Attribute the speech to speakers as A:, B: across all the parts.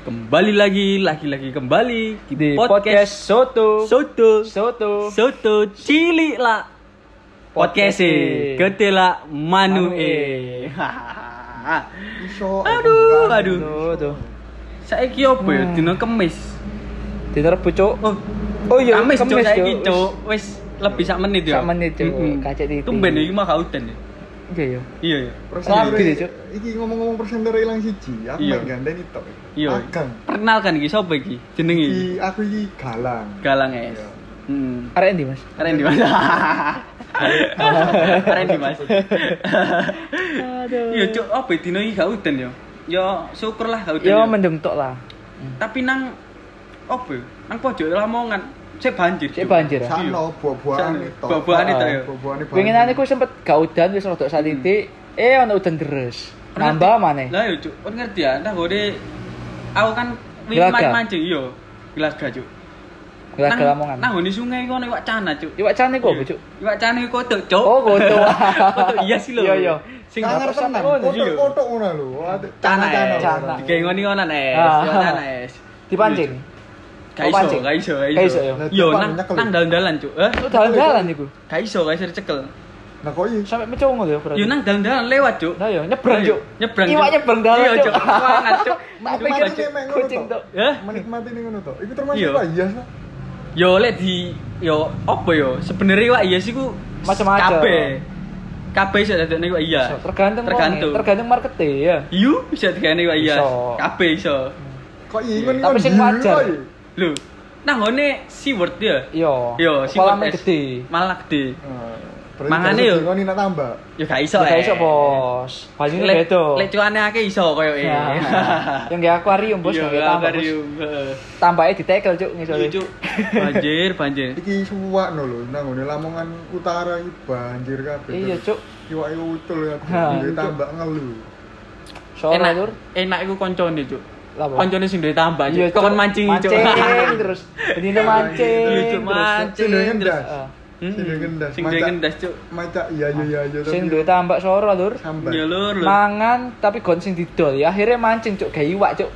A: Kembali lagi, lagi-lagi kembali
B: di podcast, Soto
A: Soto
B: Soto
A: Soto Cili lah Podcast e,
B: Podcast-e.
A: Ketela Manu e.
C: Iso.
A: Aduh, aduh.
B: tuh
A: Saiki opo ya
B: Hmm.
A: dina Kamis.
B: diterebut cuk
A: Oh,
B: oh iya
A: Kamis cuk
B: Kamis,
A: saiki
B: Cuk.
A: cuk. Wis lebih sak menit ya.
B: Sak menit, Cuk.
A: Mm-mm.
B: Kacet titik.
A: Tumben iki mah kauden ya.
B: iya iya
A: Iya ya.
C: Persentase-
B: Rapi deh, Cuk.
C: Iki ngomong-ngomong persentase ilang siji, aku
A: Iya.
C: main gandeng itu.
A: Iya.
C: Agang.
A: Perkenalkan iki sapa iki? Jenenge
B: Iya.
C: Iki aku iki galang.
A: Galang es.
C: Iya.
A: Hmm.
B: arek endi mas
A: Keren di mana? Keren di mas. Iya cuk, apa dino iki gak udan ya? Ya syukurlah gak udan.
B: yo
A: ya.
B: Iya, mendem tok lah
A: Tapi nang apa ya? Nang pojok Lamongan sik banjir.
B: Sik
A: Cuk.
B: banjir, ya?
C: Sano buah-buahan
A: Sano,
C: itu.
A: buah-buahan
B: itu,
A: ya.
C: Buah-buahan itu.
B: winginane ku sempet gak udan wis rodok
A: Hmm.
B: salitik eh ana udan deres
A: Pernah
B: nambah
A: ti-
B: maneh
A: Lah yo cuk, kon ngerti ya, entah gode aku kan
B: Gelaga.
A: main mancing iya. Gelaga cuk.
B: gelar
A: Nang-
B: lamongan
A: Nang di sungai kono iwak cana cuk.
B: iwak cane ku apa
A: Iya.
B: cuk
A: Iwak cana iku kodok cuk.
B: Oh, kodok.
A: Kodok iya sih lho.
B: Iya, iya.
A: Sing
C: Kangen
B: apa sama-
C: tenan.
A: Iya.
C: Kotok-kotok ngono lho.
A: cana eh. es.
B: Cana.
A: Digengoni ngono es,
B: Ah.
A: ngono es.
B: dipancing
A: Iya, Gak
B: Oh,
A: iso,
B: pancing.
A: gak iso, gak
B: Gak
A: iso.
B: iso, ya?
A: Yo
C: Lah,
A: nang
C: nyekel.
A: nang dalan-dalan, Cuk. Eh,
B: itu dalan-dalan iku
A: gak iso, gak iso dicekel.
C: Nah kok iki
B: sampai mecung lho ya berarti
A: Yo nang dalan-dalan lewat, Cuk.
B: Lah, yo, nyebrang, Cuk.
A: Nyebrang. Cuk.
B: Iwak nyebrang dalan,
A: Iya,
B: Cuk.
A: Cuk. Kuangan, Cuk.
B: Mati,
A: Cuk,
C: menikmati
A: Cuk.
C: ning ngono
B: kucing
C: to.
B: tok
A: Heh?
C: Menikmati ning ngono to. Iku termasuk
A: Iya.
C: apa? Iya. Sa?
A: Yo lek di yo apa yo? Sebenarnya iwak iya sih ku
B: Macem-macem.
A: Kabeh. Kabeh iso dadekne iwak iya.
B: Iso, tergantung
A: tergantung.
B: wonge, tergantung markete ya
A: Iyo bisa dadekne iwak iya.
B: Iso.
A: Kabeh iso.
C: Kok iki ngono.
B: Tapi sing wajar.
A: Lho, nang ngone Seaworld ya.
B: iya
A: Yo, Seaworld
B: kolamnya
A: es.
B: gede
A: Malah gede. Mangane
C: Mangane
A: yo.
C: yo. Ngono nak tambah.
A: Yo gak iso.
B: Ya, gak
A: eh.
B: iso bos banyune
A: Lek-
B: beda
A: Lek cuane akeh iso koyo e.
B: Ya. yang gak akuarium bos
A: Iya,
B: yang gak tambah bos
A: akuarium, heeh.
B: tambahnya ditekel cuk ngisore
A: Iya, Cuk. Banjir, banjir.
C: Iki suwak no lho. Nang ngene Lamongan Utara iki banjir kabeh.
B: Iya, Cuk.
C: Iwak iki utul ya.
B: Ha,
C: Duwe
B: Cuk.
C: tambah ngelu.
B: sore
A: enak,
B: lur
A: enak iku koncone, Cuk.
B: Lah, apa?
A: Koncone sing duwe tambah,
B: Iya,
A: Cuk. Kon mancing, Cuk.
B: mancing terus Bendino mancing
A: Iya, Cuk,
B: terus. Eh,
A: mancing.
C: Sing duwe
A: terus.
C: ngendas.
B: Heeh.
A: Mm-mm.
C: Sing duwe
A: Hmm,
C: ngendas.
A: Sing duwe
C: Mancak-
A: ngendas, Cuk.
C: Macak iya iya iya iya.
B: sing duwe tambak sora lur
C: sambar.
A: Ya lur, lur.
B: mangan tapi gon sing didol ya akhirnya mancing cuk gak iwak cuk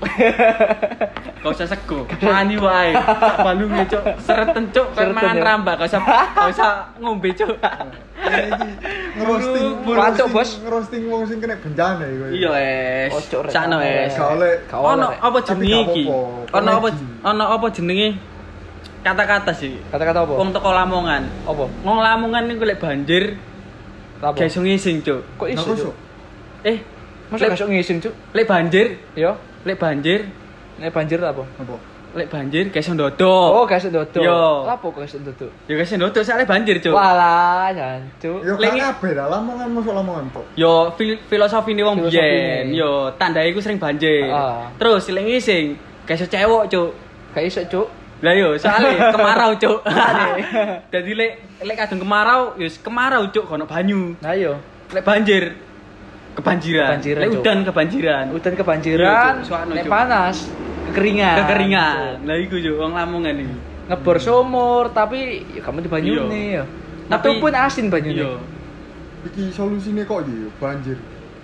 A: Gak usah sego. Mani wae. Sak balunge, Cuk. Sereten, Cuk. Kon
B: Sereten,
A: mangan
B: ya.
A: rambak, gak usah gak usah ngombe, Cuk.
C: Iki ngerosting,
A: Buru,
B: buru.
C: ngerosting-
B: Pacok, Bos.
C: Ngerosting wong sing kena bencana iku.
A: Iya, es.
B: Oh, Cuk, rek.
A: Sakno, es.
C: Gak oleh.
B: Gak
A: Ono
B: oleh.
A: apa
C: Tapi
A: jenenge
C: gak
A: iki?
C: apa-apa.
A: Ono apa
C: Komedi.
A: ono apa jenenge? Kata-kata sih.
B: kata-kata apa
A: Wong teko Lamongan.
B: apa
A: Wong Lamongan niku lek banjir
B: apa
A: gak iso ngising, Cuk.
B: kok
C: Nah,
B: iso
C: kok iso?
B: cuk
A: Eh,
B: masa
A: lek
B: gak iso ngising cuk
A: lek banjir,
B: yo
A: lek banjir,
B: nek banjir lah, apa
C: Apa?
A: lek banjir gak iso ndodok.
B: oh gak iso ndodok
A: Yo.
B: Lah, apa kok gak iso ndodok
A: Ya gak iso ndodok sak lek banjir, Cuk.
B: walah jan cuk
C: Yo
A: Lek-
C: gak kabeh lah lamongan masuk lamongan kok.
A: Yo fil filosofine wong
B: Filosofine.
A: biyen, yo tandai iku sering banjir.
B: Ah.
A: Terus lek ngising gak iso cewek, Cuk.
B: gak iso cuk
A: Lah yo, soalnya kemarau, Cuk. Jadi lek lek kadung kemarau, yo kemarau, Cuk, kono banyu.
B: nah yo
A: Lek banjir kebanjiran.
B: Kebanjiran,
A: lek
B: Cuk.
A: udan kebanjiran.
B: udan
A: Iya,
B: kebanjiran
A: Cuk. Soalnya,
B: nek
A: Cuk.
B: panas kekeringan
A: kekeringan. Lah iku yo wong Lamongan iki.
B: Cuk. ngebor sumur tapi ya, kamu di banyu
A: Iya.
B: nih yo
A: Tapi-
B: tapi pun asin banyu
A: Iya.
B: nih
C: Iki solusine kok iki banjir.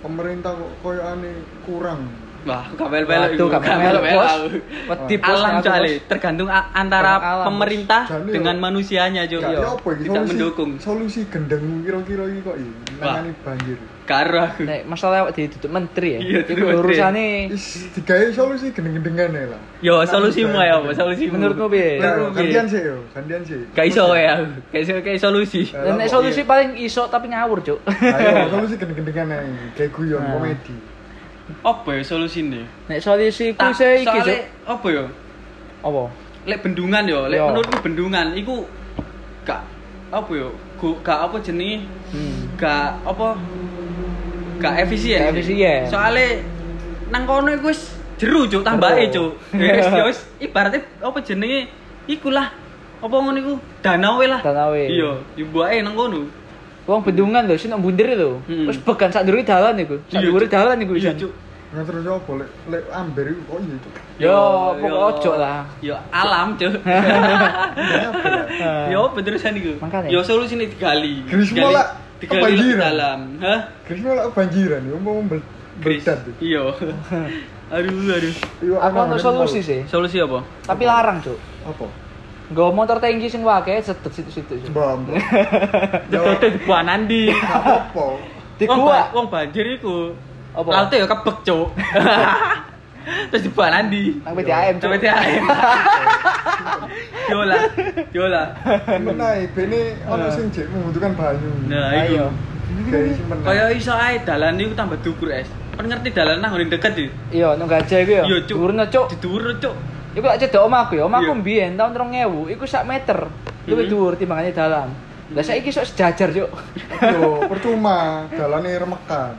C: Pemerintah kok koyokane kurang.
A: Wah, aku gak wel-wel
B: Waduh,
A: iku,
B: gak
A: gak
B: melok
A: wel-wel
B: bos.
A: aku.
B: Wedi bos.
A: Alam
B: aku,
A: soalnya
B: Bos.
A: tergantung a- antara
B: Tergantung alam, Bos.
A: pemerintah
C: Jane,
A: dengan
C: yo.
A: manusianya Cuk.
C: Gak apa iki
A: Tidak
C: solusi.
A: mendukung.
C: Solusi gendeng kira-kira iki kok iki
A: Wah.
C: nangani banjir.
A: Karo aku.
B: Nek masalah awak ditutup menteri ya.
A: Iya,
B: Iku
A: tutup menteri.
B: urusane
C: Is digawe solusi gendeng-gendengan ae lah.
A: Yo, solusimu ya, apa solusimu?
B: menurutmu piye?
C: Nah,
A: Menurutmu piye?
C: gantian sih yo, gantian sih.
A: Gak iso ya, aku. gak iso kayak solusi.
C: Eh.
B: Dan nek solusi paling iso tapi ngawur, Cuk.
C: Ayo solusi iya, gendeng-gendengan ae. Kayak guyon
B: Nah.
C: komedi.
A: Apa ya solusine?
B: Nek solusi ku
A: Tak
B: se iki, Cuk. Ya.
A: soalnya apa ya?
B: Apa?
A: Lek bendungan yo, lek
B: Yo.
A: menurutku bendungan iku gak apa yo? Gu- Gak apa jenenge?
B: Hmm.
A: gak apa gak efisien
B: Gak efisien.
A: soalnya nang kono iku wis jeru cuk tambahe cuk
B: Jeru.
A: Ya wis ya wis ibaratnya apa jenenge iku lah apa ngono iku danau we lah
B: Danau e. we.
A: iya dibuake nang kono
B: Wong bendungan lho, sing mbundir lho.
A: Hmm.
B: Terus began sak nduri dalan iku. Sak
A: Iya,
B: nduri
A: Cuk.
B: dalan iku
A: iya
B: isan.
A: cuk
C: Nah terus apa lek lek amber iku kok iya Cuk?
B: Yo,
A: iya.
B: pokok ojo lah.
A: yo alam cuk
C: Kenapa ya?
A: yo beneran iku
B: Makanya.
A: yo solusine digali
C: Grismo
A: Digali-
C: lah,
A: digali ke
C: kebanjiran.
A: dalam hah
C: Krisma lah banjiran, yo mau mel-
A: Gris
C: meledak.
A: iya Aduh, aduh.
C: Iya,
B: Aku
C: enak,
B: untuk
C: enak,
B: solusi
C: enak.
B: sih.
A: Solusi apa?
B: Tapi larang, Cuk.
C: Apa?
B: Nggo motor tangki sing wae sedep situ-situ, Cuk.
C: Mbak, mbak. Jawab.
A: Jodoh di buah nandi.
C: Gak apa-apa.
B: Di
A: Wong
B: gua.
A: ba- Wong banjir iku.
B: Apa?
A: Laute ya kebek, Cuk. Terus di buah nandi.
B: Nang PDAM, Cuk.
A: Coba tiain. Yola, yola.
C: Menai, bene ono sing jek membutuhkan banyu.
A: Nah,
B: Ayo.
A: iku.
C: Dari simpen.
A: Kaya iso ae dalan iku tambah dukur, Es. Kan ngerti dalan nang ngene deket iki.
B: Iya, nang gajah iku ya.
A: Iya, Cuk.
B: Durne, Cuk.
A: Didur, Cuk.
B: Iku tak cedok omahku ya. Omahku
A: Iya.
B: mbiyen tahun 2000 iku sak meter. Luwih
A: Mhm.
B: dhuwur timbangane dalan. Lah saiki sok sejajar, Cuk.
C: Yo, percuma dalane remekan.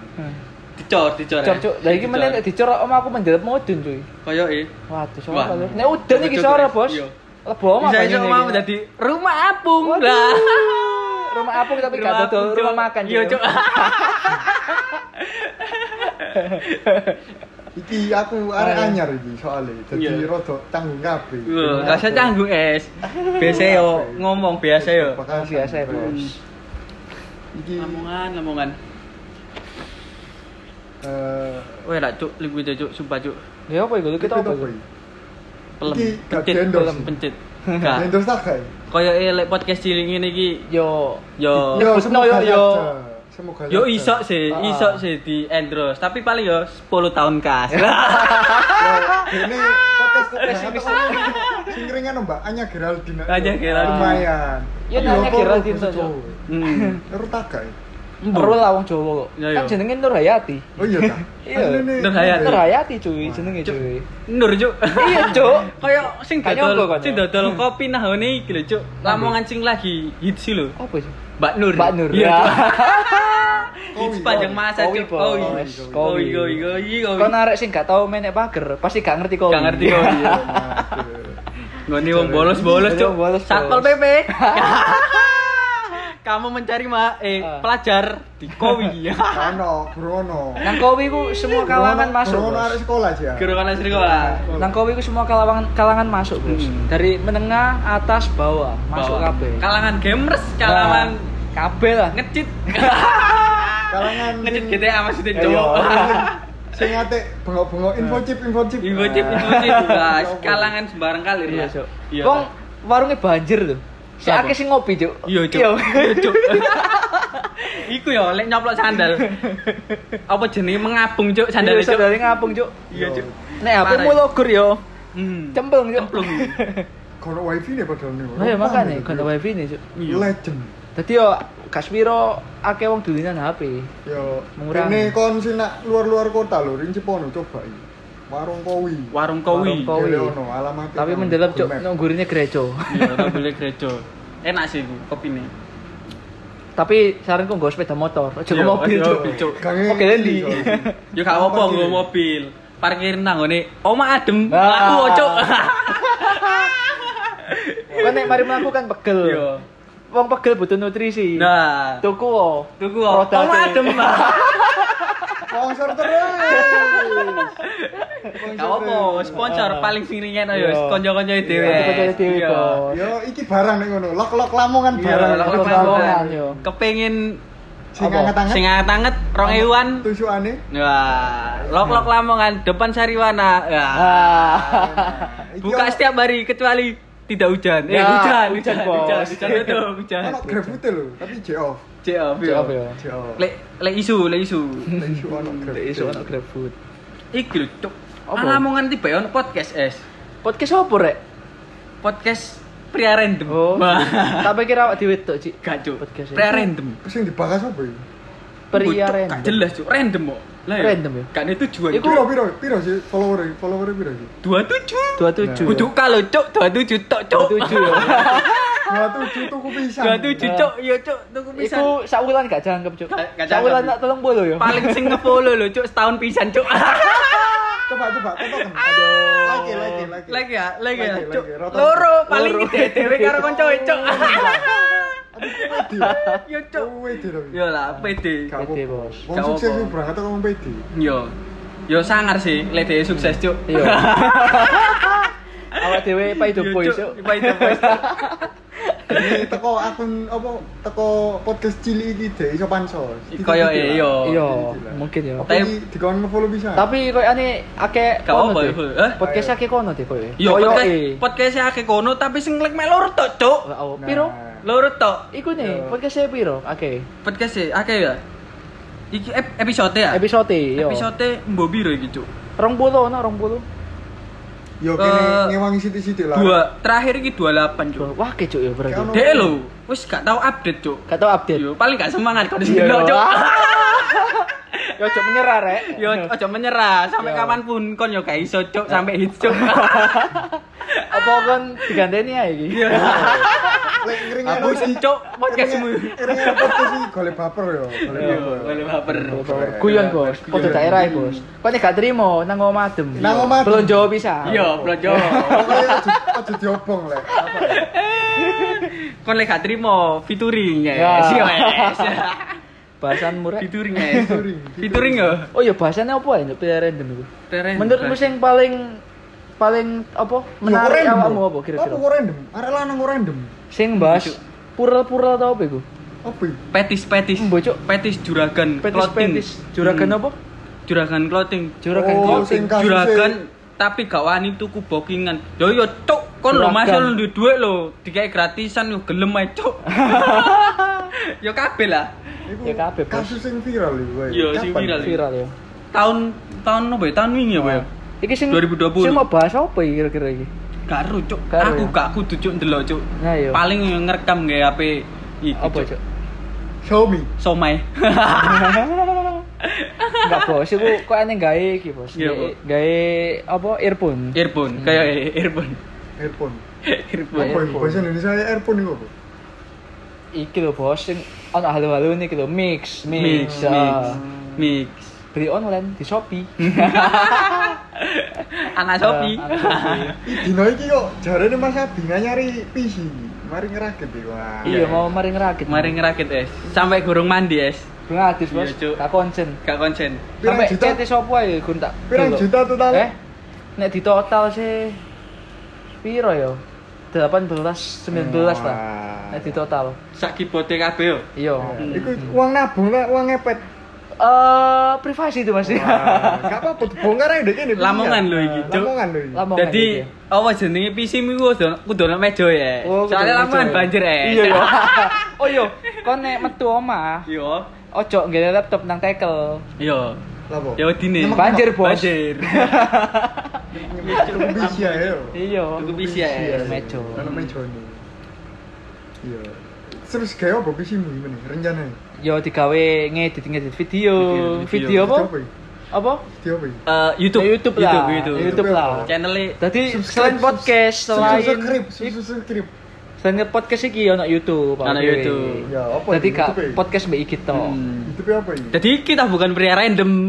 A: Dicor, dicor.
B: Cuk, Cuk. Lah iki
A: Dicor.
B: meneh nek dicor omahku mendelep mudun, cuy.
A: Kaya e.
B: Waduh,
A: Wah.
B: soalnya Nek udan iki
A: Cuk,
B: sore,
A: Cuk,
B: Bos.
A: iya.
B: Lebo omah.
A: Bisa iso
B: banyune
A: mau
B: iki.
A: menjadi rumah apung
B: Oh, Waduh.
A: lah.
B: Rumah apung tapi gak
A: Rumah
B: dodol
A: apung,
B: rumah
A: Cuk.
B: makan.
A: Iya, Cuk.
C: Iki aku arek anyar iki soalnya. Jadi
A: Iya.
C: rada canggung kabeh.
A: Wah, Rasa canggung es. Biasa yo ngomong biasa yo.
C: Bakalan
B: Biasa ya,
C: sampai.
B: Bos.
C: Iki
A: Lamongan, lamongan.
C: eh
A: Weh lah cuk, liquid aja, cuk, sumpah cuk.
B: Ya apa iku? Kita apa iku?
A: Pelem,
C: Iki gak
A: pencit,
C: diendorse.
A: pelem, pencit. Gak.
C: Nah, endorse tak gak?
A: Koyo e lek podcast cilik ngene iki
B: Yo,
A: yo
C: Yo,
B: Nyebutno
C: semoga
B: yo, yo.
C: saja. Semoga
A: yo
C: saja.
A: iso sih,
B: Ah.
A: iso sih di endorse, tapi paling yo 10 tahun kas.
C: Ini podcast pesimis. Sing ringan Mbak Anya Geraldine.
A: Anya Geraldine.
C: Lumayan.
B: Ya, Anya Geraldine saja.
A: Hmm.
C: Terus tak gak? ya?
B: Ro lah wong Jawa kok.
A: Ya,
B: Kan
A: yo.
B: jenenge Nur Hayati.
C: Oh iya tak.
B: Iya.
C: Ini-
A: Nur Hayati.
B: Nur Hayati cuy,
C: Wah,
B: jenenge
A: Cuk.
B: cuy.
A: Nur cuk.
B: Iya, Cuk.
A: Kayak sing
B: Gak nyongko
A: dodol,
B: kan,
A: sing
B: ya?
A: dodol kopi nah ngene iki lho cuk. Lamongan sing lagi hits sih lho.
B: Apa sih?
A: Mbak Nur.
B: Mbak Nur.
A: Iya. Cuk.
C: Kowi,
A: Hits panjang
C: kowi.
A: masa
B: Kowi,
A: cuk.
B: Bos.
A: Kowi.
B: Kowi.
A: Kowi, kowi, kowi,
B: Kau
A: kowi.
B: narik sih nggak tahu menek pager, pasti gak ngerti kau.
A: Gak ngerti
C: Iya,
A: kowi. ya.
C: Mas.
A: Ngoni wong bolos-bolos
B: Wong
A: cuk.
B: bolos,
A: Satpol
B: bolos.
A: PP. Kamu mencari ma eh
B: Ah.
A: pelajar di Kowi.
C: Kano, Bruno.
B: Nang kowe ku semua kalangan masuk.
C: Bruno
B: Bos.
C: arek sekolah aja.
A: Gerokan sekolah.
B: Nang kowe ku semua kalangan kalangan masuk, Bos.
A: Hmm.
B: Dari menengah, atas, bawah, masuk
A: Bawah.
B: kabeh.
A: Kalangan gamers, kalangan
B: Nah, kabeh lah.
A: ngecit.
C: Kalangan
A: Ngecit
C: sing-
A: GTA maksudnya
B: Iya.
A: cowok.
C: Sing ate bengok-bengok info chip, info chip.
A: Info chip,
C: Ah.
A: info chip, guys. Kalangan sembarang kali
B: Iya,
A: ya.
B: Cuk.
A: Iya.
B: Wong warunge banjir lho. Si
A: Siapa?
B: akeh sing ngopi, Cuk.
A: Iya, Cuk. Iya, Cuk. Iku ya lek nyoplok sandal. Apa jenenge mengabung, Cuk,
B: Sandal
A: sandale, Cuk.
B: sandale ngapung, Cuk.
A: Iya, Cuk.
B: Nek apa
A: Parah.
B: mu logor yo.
A: Hmm.
B: Cemplung, Cuk.
A: Cemplung.
C: Kono wifi nih padahal nih.
B: Ayo makane
C: Apa
B: kon
C: nih?
B: iya, wifi Iya. ne, ya, Cuk.
C: Legend.
B: Dadi yo Kasmiro akeh wong dulinan HP.
C: Yo,
B: Mengurangi.
C: ini kon sih nak luar-luar kota lho, rinci pono coba ini. Warung kowi.
A: Warung kowi.
B: Warung Kowi.
C: Gele ono alamatnya
B: Tapi
C: nang
B: mendelep, Cuk,
C: Google Map.
B: nunggurine gereja.
A: Iya, tak boleh gereja. Enak sih iku kopine.
B: Tapi saranku nggo sepeda motor, aja
A: Iya,
B: nggo mobil,
A: aja
B: Cuk.
A: mobil, Cuk.
C: Gange
B: Oke, Dendi.
C: soalnya.
A: Yo gak apa-apa nggo mobil. Parkir nang ngene. Oma adem,
B: Ah.
A: laku kok, Cuk.
B: Kan nek mari mlaku kan
A: Iya.
B: pegel. Wong pegel butuh nutrisi.
A: Nah,
B: tuku wo. e.
A: tuku kok.
B: Rodate.
A: Oma adem.
C: Sponsor terus. Sponsor
A: Gak apa,
C: terus.
A: sponsor paling sing ringan
B: Iya.
A: ayo konco-konco Nah, dhewe.
B: Iya, konco-konco dhewe,
A: Iya.
B: Bos.
C: Yo, iki barang nih ngono. Lok-lok lamongan
A: Iya,
C: barang.
A: lok-lok
C: Lok-lok
A: Lamongan.
C: lamongan.
B: yo.
A: Kepengin
C: Sing
B: Apa?
C: anget-anget.
A: sing anget-anget 2000-an.
C: Tusukane.
A: Wah, lok-lok
B: Nah.
A: Lamongan depan Sariwana. Wah.
B: iya. Ah.
C: Iki
A: Buka
C: ono-
A: setiap hari kecuali tidak hujan. Eh,
B: Ya,
A: hujan,
B: hujan,
A: hujan,
B: Bos.
A: hujan, hujan, betul, hujan.
C: Ono grafute lho, tapi J off.
A: Cek off,
B: Cek
A: yo.
B: off, yo.
C: J off.
A: Lek lek isu, lek isu.
C: Isu ono grafute.
B: Iso
A: Iya.
B: ana GrabFood.
A: Iki lho, Cuk.
B: Apa?
A: Lamongan tiba on podcast es.
B: Podcast opo rek?
A: Podcast pria random.
B: Oh.
A: Wah.
B: Tapi kira awak dhewe tok, Cik.
A: Gak, Cuk.
B: Podcast es.
A: Pria random.
C: Sing dibahas apa iki?
B: Pria
A: Bocok,
B: random.
A: Gak jelas, Cuk. Random kok. Lah, ya.
B: Random, ya?
A: Gak ada tujuan.
B: Iku-
A: Iku
C: Piro piro piro sih follower follower piro sih?
A: 27.
B: 27.
A: Kudu kalau Cuk, 27 tok, Cuk.
B: 27 yo.
C: 27 tuku pisan.
A: 27 Cuk, yo Iya, Cuk, tuku pisan.
B: Iku sakulan gak jangkep, Cuk.
A: Gak- gak
B: Sakulan tak ya?
A: jangkep.
B: 30 yo.
A: Paling sing nge-follow lho, Cuk, setahun pisan, Cuk.
C: Coba coba tekan. Lagi lagi lagi.
A: Lagi ya, lagi ya,
C: Lagi,
A: Cuk.
C: lagi, rotan.
A: Loro
B: Loro.
A: paling ide dhewe karo kanca, Cuk.
C: Aduh, pede.
A: Yo Cuk.
C: Oh, pede lho.
A: Yo lah, pede.
C: Gak
B: Pede,
C: apa-apa.
B: Bos.
C: Wong
A: Gak
C: sukses
A: apa-apa.
C: sih berangkat kok ngomong pede.
A: Yo. Yo sangar sih, lek dhewe sukses, Cuk.
B: Iya.
A: Iya,
B: Awak dhewe paido boys, Cuk.
A: Ipa itu boys. Cuk.
C: Ini teko akun apa teko podcast cilik iki deh iso pansos.
A: Koyo iyo.
B: Iya, mungkin ya.
A: Tapi-
C: Tapi dikon nge-follow bisa.
B: Tapi koyo ane akeh
A: Gak apa-apa,
B: deh.
A: Bu. Eh?
B: Podcast akeh kono deh koyo. e.
A: Yo podcast podcast akeh kono tapi sing klik mek loro tok, Cuk.
C: Nah.
B: Piro?
A: Loro tok.
B: Iku nih,
A: Iya.
C: Yo.
B: podcast e piro? Akeh.
A: Podcast e akeh ya. Iki ep- episode ya?
B: Episode e, yo.
A: Episode mbok piro iki, Cuk?
B: 20 ono 20.
A: Eh,
C: Yo kene ngewangi sithik-sithik lah.
A: Dua, terakhir iki 28, Cuk.
B: Wah, kecuk yo berarti.
C: Kayak ono-
A: Dek lo, wis gak tau update, Cuk.
B: Gak tau update.
A: Yo, paling gak semangat kok di sini,
B: Iya, yo.
A: Cuk. Iya.
B: Yo ojo menyerah, Rek.
A: Yo, ojo menyerah sampai
B: Yo.
A: kapanpun kon yo gak iso, Cuk, sampai hits, Cuk.
B: Apa kon diganteni ae iki?
A: Iya.
C: Lek ngering
A: Aku sencuk
B: Iya.
A: podcastmu.
C: Ngering podcast iki golek baper yo, golek
A: Yo,
C: baper.
A: boleh baper.
B: Guyon, Bos. Foto daerah, Bos. Kok nek gak trimo nang omah adem.
C: Nang omah adem.
B: Belum jawab bisa.
A: Yo, blojo.
C: Pokoknya aja- aja diobong lek. Apa?
A: Kon lek gak trimo featuring,
B: Ya.
A: guys. Yo, guys.
B: Bahasan murah.
A: Featuring, guys.
C: Featuring,
A: Featuring yo.
B: Oh iya, bahasannya apa ya? Nek pilihan random iku.
A: Tereng.
B: Menurutmu sing paling paling apa menarik
C: Yo, kok random,
B: awakmu
C: bro.
B: apa kira-kira?
C: Apa kok random? Arek lanang kok random.
B: Sing bahas pural-pural tau apa iku?
C: Apa iki?
A: petis petis.
B: Mbok, Cuk.
A: Petis juragan clothing.
B: Petis-petis juragan
A: Hmm.
B: apa?
A: Juragan clothing.
B: Juragan
C: Oh,
B: clothing.
C: sing kasih
A: Juragan tapi gak wani tuku bokingan. Yo yo cuk, kon lo
B: Juragan.
A: masih lu duwe duit lo, dikai gratisan yo gelem ae cuk. yo kabeh lah.
C: Iku
B: Ya, kabeh, Bos.
C: kasus sing viral iku. woy.
A: Yo, sing
C: Kapan?
A: viral.
B: viral ya.
A: Tahun tahun apa ya? Tahun wingi apa ya?
B: Iki sing
A: 2020.
B: Sing mau bahas apa iki kira-kira iki?
A: Gak ero cuk.
B: Gak ero
A: Aku
B: ya?
A: gak kudu cuk ndelok cuk.
B: Nah, yo.
A: Paling yo ngerekam nggae HP iki
B: apa,
A: cuk.
B: Cuk?
C: Xiaomi.
A: Somai.
B: Enggak, Bos. Iku kok aneh gawe iki, Bos.
A: Iya, Bos.
B: Gawe apa earphone.
A: earphone, kayak earphone.
C: Earphone.
A: earphone.
C: Apa iku? Bahasa Indonesia ya earphone iku apa?
B: Iki lho, Bos, sing ono halu-halu iki lho, mix, mix.
A: mix,
B: ah.
A: mix, mix.
B: Beli online di Shopee.
A: Anak Shopee.
B: Eh, anak Shopee.
C: Ih, Dino iki kok jarene Mas Abi nggak nyari PC. Mari ngeraget iki, wah.
B: Iya, mau mari ngerakit.
A: Mari ngerakit es, sampai gorong mandi es,
B: Gratis, Bos.
A: Iya, Cuk.
B: Tak konsen.
A: gak konsen.
C: Pirang
B: Sampai
C: juta?
B: cete sopo ae gun tak.
C: Pirang
B: delok.
C: juta total?
B: Eh. Nek di total sih piro ya? yo? 18 19 lah.
C: Wah.
B: Nek di total.
A: Sak kibote kabeh yo.
B: Iya.
C: Nah, Iku uang nabung lah, uang ngepet.
B: Eh privasi itu Mas.
C: Wah, Gak apa-apa, dibongkar aja deh ini.
A: Lamongan lho iki, Cuk.
C: Lamongan lho iki.
B: Lamongan
A: Jadi
B: iki.
A: apa jenenge PC iku kudu kudu ana meja ya.
B: Oh, kudu
A: Soalnya
B: ana
A: lamongan
B: meja ya.
A: banjir eh. es.
B: Iya, iya. Oh yo, kon nek metu omah,
A: Yo.
B: ojo nggene laptop nang tekel.
A: Yo.
C: Lapo?
A: Ya wedine.
C: Nemek-
B: Banjir, Bos.
A: Banjir.
C: Cukup bisa ya. yo.
B: Iya.
A: Tuku PC ya,
C: Bisa,
B: es, mejo.
C: Karena mejo ini. Iya. Terus kayak apa sih mu gimana? Rencana?
B: Yo digawe ngedit-ngedit video.
A: Video,
B: Video
A: video.
B: apa? Apa?
C: Video apa? ya?
A: Eh, YouTube.
B: Ya, YouTube lah.
A: YouTube.
B: Ya,
A: YouTube.
B: YouTube lah.
A: Channel
B: Tadi
C: Subscribe,
B: selain
C: subs-
B: podcast,
C: subs-
B: selain
C: subscribe, subs- subscribe.
B: selain nge- podcast iki ono YouTube.
A: Ono
B: Pak.
A: YouTube. Hmm.
C: Ya, apa
B: Tadi
C: ini?
B: kak
C: YouTube ya?
B: podcast mbak iki to.
C: Itu apa ini?
A: Jadi kita bukan pria random.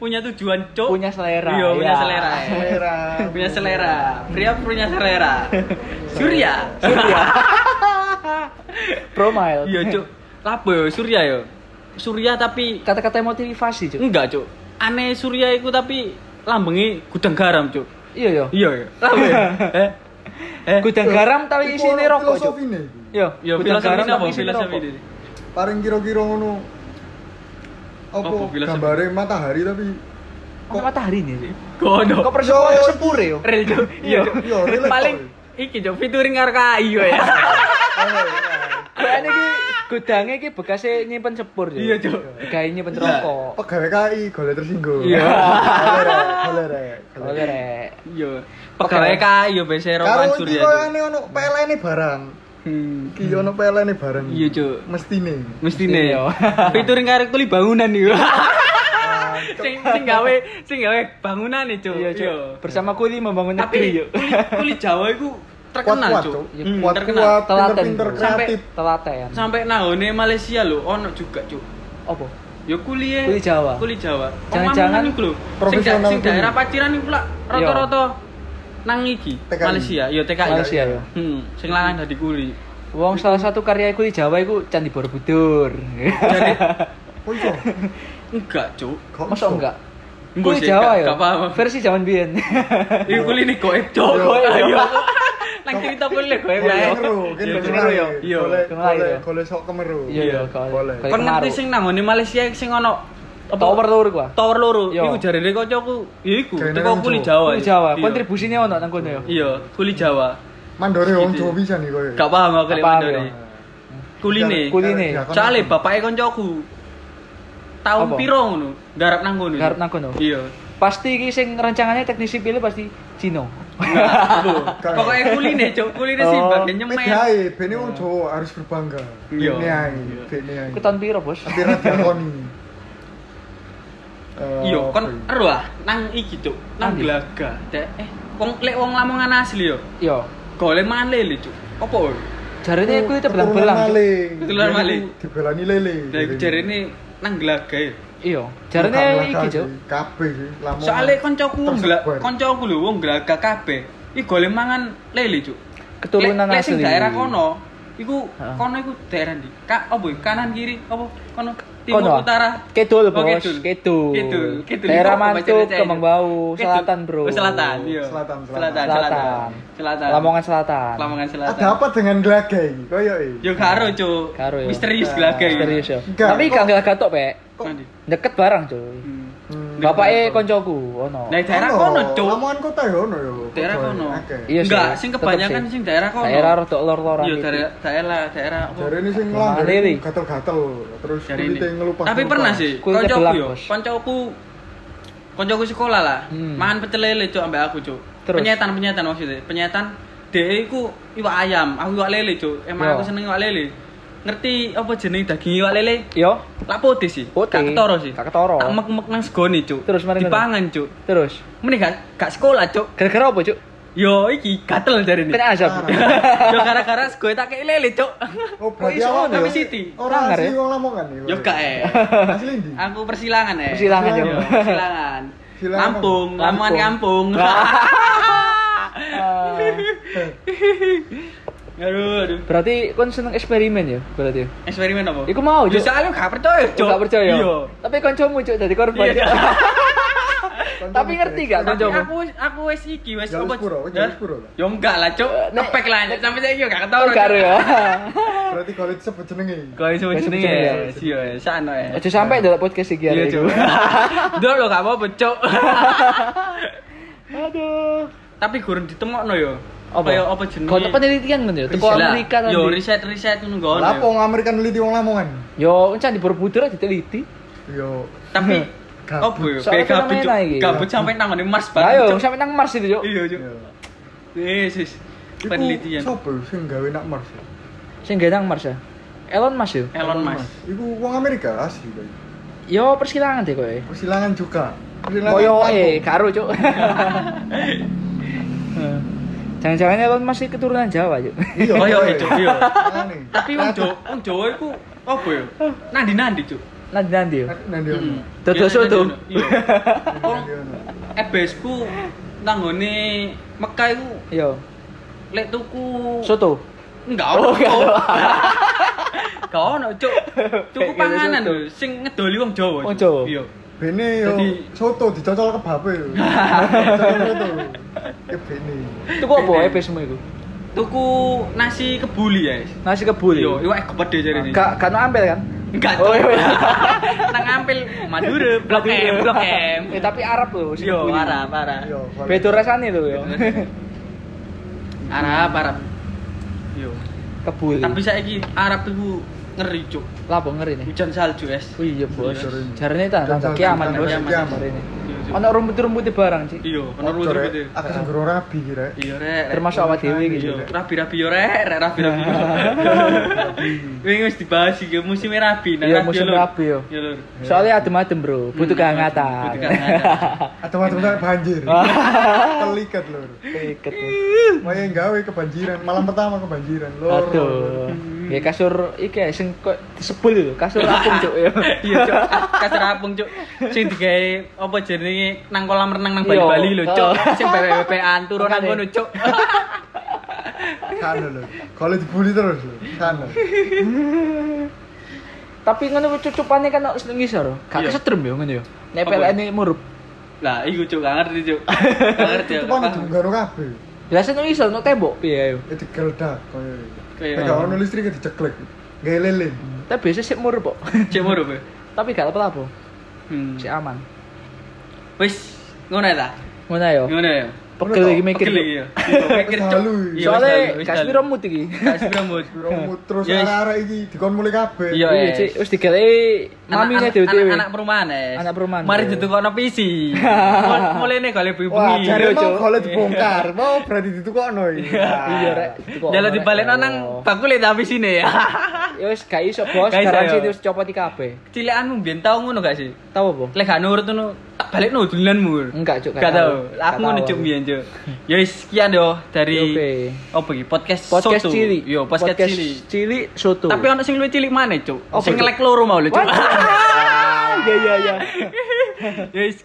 A: punya tujuan, Cuk.
B: Punya selera,
A: Iya, punya
B: ya.
A: selera. ya.
C: Selera.
A: Punya selera. Pria punya selera. Surya.
B: Promile.
A: Iya, Cuk. Lapo yo Surya yo. Surya tapi
B: Kata-kata motivasi cuy.
A: enggak, Cuk. Aneh Surya iku tapi lambenge gudang garam, Cuk.
B: Iya yo.
A: Iya, iya. Lapo yo. Eh. Eh.
B: Gudang garam tapi
C: Iku
B: isine
C: ono
B: rokok cuy.
C: Filosofi nih.
B: Yo.
A: Yo
B: gudang
A: filosofi
B: garam
A: apa
B: tapi isine
A: filosofi
B: rokok.
A: ini?
C: Paling kira-kira ngono. Apa
A: Apa filosofi?
C: gambare matahari tapi
B: Kok matahari nih? cuy?
A: Gono.
B: Kok perso
C: Yo, yo.
B: sepure yo.
A: Real, Cuk. Iya. Cuk.
C: Yo, real,
A: Paling
C: Cuk.
A: iki, Cuk, featuring karo KAI yo ya.
B: Kayane iki gudange iki bekase nyimpen sepur cuy.
A: Iya, Cuk.
B: Digawe nyimpen rokok.
C: pegawai KI golek tersinggung.
A: Iya.
C: Golek, rek, golek, rek, golek.
B: Oleh rek.
A: Yo. Pegawai iya, KAI yo biasa
C: Karo
A: rokan
C: iki
A: Surya.
C: koyo
A: ya, Cuk.
C: ane ono pelene barang.
A: Hmm.
C: Iki ono pelene barang.
A: Iya, Cuk.
C: Mestine.
A: Mesti
B: Mestine,
A: nih.
B: yo.
A: Featuring karo kuli bangunan yo. sing sing gawe sing gawe bangunan nih, Cuk.
B: Iya cuy. Bersama kuli membangun
A: Tapi
B: negeri yo.
A: kuli, kuli Jawa itu terkenal,
C: Kuat-kuat,
A: Cuk.
C: Cuk.
B: Iya,
A: Hmm, terkenal.
C: Kuat-kuat,
B: Telaten.
C: pinter-pinter
A: Sampai-
C: kreatif.
B: Telaten.
A: Sampai nangone Malaysia lho ono juga, Cuk.
B: Opo?
A: Ya kuliah
B: Kuli Jawa.
A: Kuli Jawa.
B: Jangan-jangan
A: Omaman iku lho. Sing, da-
C: profesional
A: sing
C: kuli.
A: daerah Paciran iku pula rata-rata nang iki
C: TKI.
A: Malaysia, Iya, yo TKI.
B: Malaysia yo.
A: Hmm, sing lanang dadi kuli.
B: Wong salah satu karya iku di Jawa iku Candi Borobudur.
A: Jadi
C: Oh iya.
A: enggak, Cuk.
C: Kok
B: Masa
C: iso?
B: enggak?
A: Enggak
B: Kuwi
A: sih,
B: Jawa
A: enggak-
B: ya.
A: enggak paham.
B: Versi zaman biyen.
A: Iku kuli nih goib, Cuk.
C: Yo.
A: Goib, yo. Nang cerita kulit kowe
C: Golek
A: ya.
C: kemeru, kan
A: Iya,
C: golek
A: kemeru ya. Iya.
C: Golek
B: Kemerai,
C: golek-
B: iya.
C: golek sok kemeru.
B: Iya, iya, golek-
C: Golek.
B: golek.
A: Kon ngerti sing nang ngone Malaysia sing ono apa?
B: Tower lur gua.
A: Tower loro.
B: Iya.
A: Iku jarene kancaku, ya iku
C: Kayaknya
A: teko
C: kan
A: kuli
C: Jawa.
A: Jawa.
B: Kuwi
A: ya.
B: Jawa,
A: Iya.
B: kontribusinya ono nang kono ya.
A: Iya, kuli Jawa.
C: Mandore wong
A: Gitu.
C: Jawa bisa nih kowe.
A: Gak paham aku
B: Gak
A: lek
B: paham,
A: mandori.
B: iya.
A: Kuline.
C: Gak-
B: Kuline.
C: gak- gak-
A: Soale bapake kancaku tahun
B: Apa?
A: piro ngono, garap nang ngono.
B: Garap nang kono.
A: Iya.
B: Pasti iki sing rencangannya teknisi pilih pasti Cino.
C: Gak-
A: Pokoke kuline, cok, kuline
B: Oh.
A: sih bagian
C: Beda
A: nyemek.
C: ae, bene wong Jawa kan harus berbangga.
A: Iya.
C: Bene ae,
A: Iya.
C: bene ae.
B: Ku tahun piro, Bos?
C: Tapi ra dilakoni. Eh,
A: Iya, kon
C: apa ya?
A: ero ah nang iki cok, nang
B: Nang ndi?
A: Glaga. Dek, eh wong lek wong Lamongan asli yo.
B: Yo.
A: Golek male lho cok. Apa? woy?
B: Jarine kuwi
C: Keturunan
B: tebelang-belang. Cuk.
C: maling.
A: Keturunan Nah,
C: Jadi
A: maling.
C: Dibelani lele.
A: Lah iku jarene nang Glaga ya.
B: Iya. Jarine
C: Bukan
B: iki,
C: laka
B: Cuk.
C: sih, Kabeh sih, Lamongan.
A: Soale kancaku wong
C: Tersebar.
A: Gla- kancaku lho wong Glaga kabeh. Iki golek mangan lele cok.
B: Keturunan
A: Lek- lek sing
B: asli.
A: daerah kono iku
B: Heeh.
A: kono iku daerah ndi? Ka apa ya? kanan kiri apa kono timur
B: Kono.
A: utara.
B: Kidul, Bos.
A: Oh,
B: Kidul.
A: Kidul. Kidul.
B: Daerah
A: Apa
B: Mantuk,
A: bacanya?
B: Kembang Bau,
A: Kidul.
B: Selatan, Bro.
A: Oh, selatan, iya.
C: Selatan,
A: selatan,
C: selatan.
A: selatan. Selatan.
B: Lamongan Selatan.
A: Lamongan selatan.
C: Ada apa dengan Glaga ini? Koyo iki.
A: Yo karo, Cuk.
B: Karo, ya.
A: Misterius gitu. gelagai.
B: Misterius ya.
C: Enggak,
B: Tapi
C: kok-
B: gak gak gatok, Pek.
C: Kok-
A: Nanti.
B: Deket barang, cuy.
A: Hmm.
C: Hmm.
A: Deket
B: Bapaknya
A: barang.
B: koncoku, ono.
A: Nah, daerah kono, Cuk.
C: Lamongan kota ya ono ya.
A: Daerah
C: Kota ya,
A: kono.
C: akeh.
B: Iya sih,
A: Enggak, sing
B: tetep
A: kebanyakan
B: sih.
A: sing daerah kono.
B: Daerah rodok lor-loran
A: Iya,
B: gitu.
A: daerah daerah daerah apa?
C: Jare ini sing
B: Agama
C: langgar
B: lele.
C: itu gatel-gatel terus
A: Jare ini.
C: kulite ngelupas.
A: Tapi pernah sih,
B: Kulit
A: koncoku
B: tebelang,
A: yo,
B: Bos.
A: koncoku koncoku sekolah lah,
B: Hmm.
A: mangan pecel lele cuk ambek aku cuk.
B: Terus?
A: Penyetan penyetan maksudnya, penyetan dhek iku iwak ayam, aku iwak lele cuk. Emang
B: Yo.
A: aku seneng iwak lele. Ngerti apa jeneng daging iwak lele?
B: Yo,
A: Lak putih sih,
B: Putih.
A: gak ketoro sih.
B: Gak ketoro.
A: Tak mek-mek nang segone cuk.
B: Terus mari ngono.
A: dipangan cuk.
B: terus.
A: Mending gak gak sekolah cuk.
B: Gara-gara apa, cuk?
A: Yo iki gatel jare ini.
B: Kena azab.
A: Yo gara-gara segone tak kei lele cuk.
C: Oh, berarti
B: Kok iso
C: awak
B: ono?
C: dhewe-
A: Tapi Siti.
C: Ora
B: Langgar
C: asli
B: ya?
C: wong Lamongan ya.
A: Yo gak eh.
C: Asli ndi?
A: Aku persilangan eh.
B: Persilangan,
A: Yo,
B: Cuk.
A: Persilangan.
C: Silangan.
A: Lampung, Lamongan kampung. Iya. aduh, aduh.
B: Berarti kon seneng eksperimen ya, berarti.
A: Eksperimen apa?
B: Iku mau,
A: Yo
B: Cuk. Oh,
A: soalnya gak percaya, Cuk.
B: Gak percaya.
A: Iya.
B: Tapi kancamu, cuk, jadi korban.
A: Iya.
B: Cuk.
C: Konco
B: Tapi
C: mikir.
B: ngerti gak
A: Tapi
B: kancamu?
A: aku aku wis iki wis
C: Jalur sepuro,
A: Hah?
C: jalur sepuro lah.
A: Yo enggak lah, Cuk.
B: Eh, nek-
A: Ngepek lah Cuk. sampai saiki yo gak ketara.
B: Oh, karo ya.
C: Berarti kalau disebut jenenge.
A: Kau iso
B: Kau iso
A: jenenge.
B: jenenge.
A: yes, Iya, yes, sano ya.
B: Aja sampai dalam podcast iki
A: Iya,
B: hari
A: Cuk.
B: ini.
A: Dol lo gak apa-apa, Cuk.
B: Aduh.
A: Tapi gurun ditemokno yo.
B: Apa?
A: Kaya apa jenenge?
B: Kau tempat penelitian kan ya? Teko
A: Lah,
B: Amerika tadi.
A: Yo riset-riset ngono ngono.
C: Lah apa wong Amerika neliti wong Lamongan? Iya.
B: Yo, encan di Borobudur aja diteliti.
C: Yo
A: tapi
C: Gabut.
A: apa ya
B: Soalnya
A: kayak gabut
B: fenomena
A: Cuk.
B: iki.
A: gabut sampai nang ngene Mars
B: Lah yo,
A: Cuk.
B: sampe nang Mars itu, Cuk.
A: iya Cuk.
C: yo.
A: yesus
C: Iku
A: penelitian
C: Sopo sing gawe nak Mars? ya?
B: Sing gawe nang Mars ya. Elon Musk ya? yo.
A: Elon Musk
C: Iku wong Amerika asli kowe.
B: Yo persilangan deh kowe.
C: Persilangan juga. Persilangan
B: Koyo eh
C: kampung.
B: karo, Cuk. Jangan-jangan Elon Musk iki keturunan Jawa, Cuk.
C: Iya.
A: Koyo,
C: kowe.
A: eh, Cuk, iya.
C: Makane.
A: tapi wong
C: Nah,
A: Jawa wong Jawa iku apa ya nandi-nandi Cuk
B: Nanti-nanti yo.
C: Nang ndi
A: Hmm.
C: ono?
B: Dodol
A: Biasanya
B: soto.
A: nandi-nandi, iya
C: Nang ndi ono?
A: ebes ku nang ngene Mekah iku
B: Yo.
A: lek tuku
B: Soto.
A: enggak ono
B: Oh, enggak
A: Cuk.
B: ono.
A: enggak ono Cuk tuku
B: Kayak gitu,
A: panganan
B: soto.
A: lho sing ngedoli wong Jawa
B: Wong
A: Cuk.
B: Jawa.
A: iya
C: Bene yo
A: Jadi-
C: soto dicocol kebabe. Dicocol soto. Ya bene.
B: Itu kok apa eh, EP semua itu?
A: tuku nasi kebuli ya guys.
B: Nasi kebuli.
A: Yo, iwak gede jare ini.
B: Gak gak no ampel kan?
A: Enggak.
B: Oh,
A: Oh,
B: iya.
A: Nang ampil Madura, Blok M, Blok M. Iya,
B: Eh, tapi Arab loh, si
A: Yo,
B: kebuli. Iya.
A: Arab, Arab.
C: Yo, kalau-
B: Beda rasane lho yo.
A: Arab, Arab. Yo.
B: Kebuli.
A: Tapi saiki Arab itu ngeri cuk.
B: lapo ngeri nih.
A: Hujan salju, guys.
B: Eh. Wih, iya bos.
A: Iya,
C: iya.
B: Jarane ta tanda
C: Tanda
B: kiamat
C: kiamat,
B: bos.
A: tanda kiamat.
B: Jarene.
A: Iya, Cuk.
B: Ono eh. rumput-rumput barang, Cik.
A: Iya, bener lu
C: Cok, Rek.
A: itu.
C: Aku sing gero rabi ki, Rek.
A: Iya, rek.
B: Termasuk awak dhewe iki.
A: Iya,
B: Cuk.
A: rabi-rabi yo rek, rek rabi-rabi. Wingi wis dibahas iki musim rabi nang
B: Iya,
A: radio,
B: musim
A: Lur.
B: rabi, yo.
A: Iya, Lur.
B: Soalnya adem-adem, Bro. Butuh kehangatan.
A: Hmm, Butuh kehangatan.
C: Atau macam tak banjir.
B: Ah.
C: Kelikat lur.
B: Iket.
C: Mau yang gawe kebanjiran. Malam pertama kebanjiran lur.
B: Aduh. Ya kasur iki ya, sing kok disebul lho, kasur apung, Cuk. ya. Yo.
A: Iya, Cuk. Kasar apung, Cuk. Sing digawe apa jenenge nang kolam renang nang
B: Iya.
A: Bali-Bali lho, Cuk.
B: Oh.
A: Sing BPP-an turun nang
B: Makane.
A: kono, Cuk.
C: Kan lur. Kalau dibully terus lur. Kan. lur.
B: Tapi ngono cucupane kan ono seneng ngisor. Gak
A: Iya.
B: kesetrum yo ngono yo. Nek
A: Apa?
B: pelene murup.
A: Lah, iku Cuk gak ngerti, Cuk. Gak ngerti.
C: Itu
A: aku,
C: pan
A: paham.
C: garo kabeh.
B: Lah sing iso untuk
A: Iya,
B: tembok piye ayo.
C: Eh cekel dak koyo.
A: Kayak-
C: Nek ono listrik diceklek. Gak lele.
B: Tapi biasanya sik mur, Pok.
A: Cek moro be.
B: Tapi gak apa-apa,
A: Hmm.
B: sik aman.
A: Wis ngono ya ta?
B: Ngono ya.
A: Ngono ya.
B: Pegel iki mikir.
A: Pegel iki ya. Mikir cuk.
C: Halu.
A: Iya, wis halu,
B: Soalnya
A: wis
B: gak
A: halu.
B: sepiro mood iki.
A: Gak sepiro mood.
C: Romo terus
A: Yes.
C: arah-arah iki dikon mulai kabeh.
A: Iya,
B: Iya,
A: es.
B: Cik. Wis digeleki mamine
A: Anak-
B: dhewe-dhewe.
A: Anak, anak perumahan es.
B: Anak perumahan,
A: Mari
B: iya.
A: ditukokno PC. Mulai nih kalau ibu
C: Wah,
B: Iya,
C: jare
B: Cuk.
C: mau kalau dibongkar, mau berarti ditukokno iki.
B: Iya, Rek. Ditukokno,
A: Jalan
B: Rek.
A: di balik
B: Oh.
A: nang bakulit tapi sini ya.
B: Ya wis gak iso, Bos.
A: Gak iso,
B: Garansi
A: ya.
B: terus copot iki kabeh.
A: Cilekanmu biyen tau ngono gak sih?
B: Tahu apa?
A: Lek gak nurut ngono, tak balik no dolanmu.
B: Enggak, Cuk.
A: Gak tau. Aku
B: Gak
A: ngono
B: tahu
A: cuk
B: aku.
A: biyen cuk. Ya wis sekian yo dari
B: Oke.
A: opo iki podcast
B: Podcast
A: Soto.
B: Cili.
A: Yo podcast Cili.
B: Cili Soto.
A: Tapi ono sing luwih cilik maneh cuk.
B: Apa,
A: Sing
B: Cuk?
A: ngelek loro mau lho cuk.
B: Wah, Iya, iya, iya.
A: Ya wis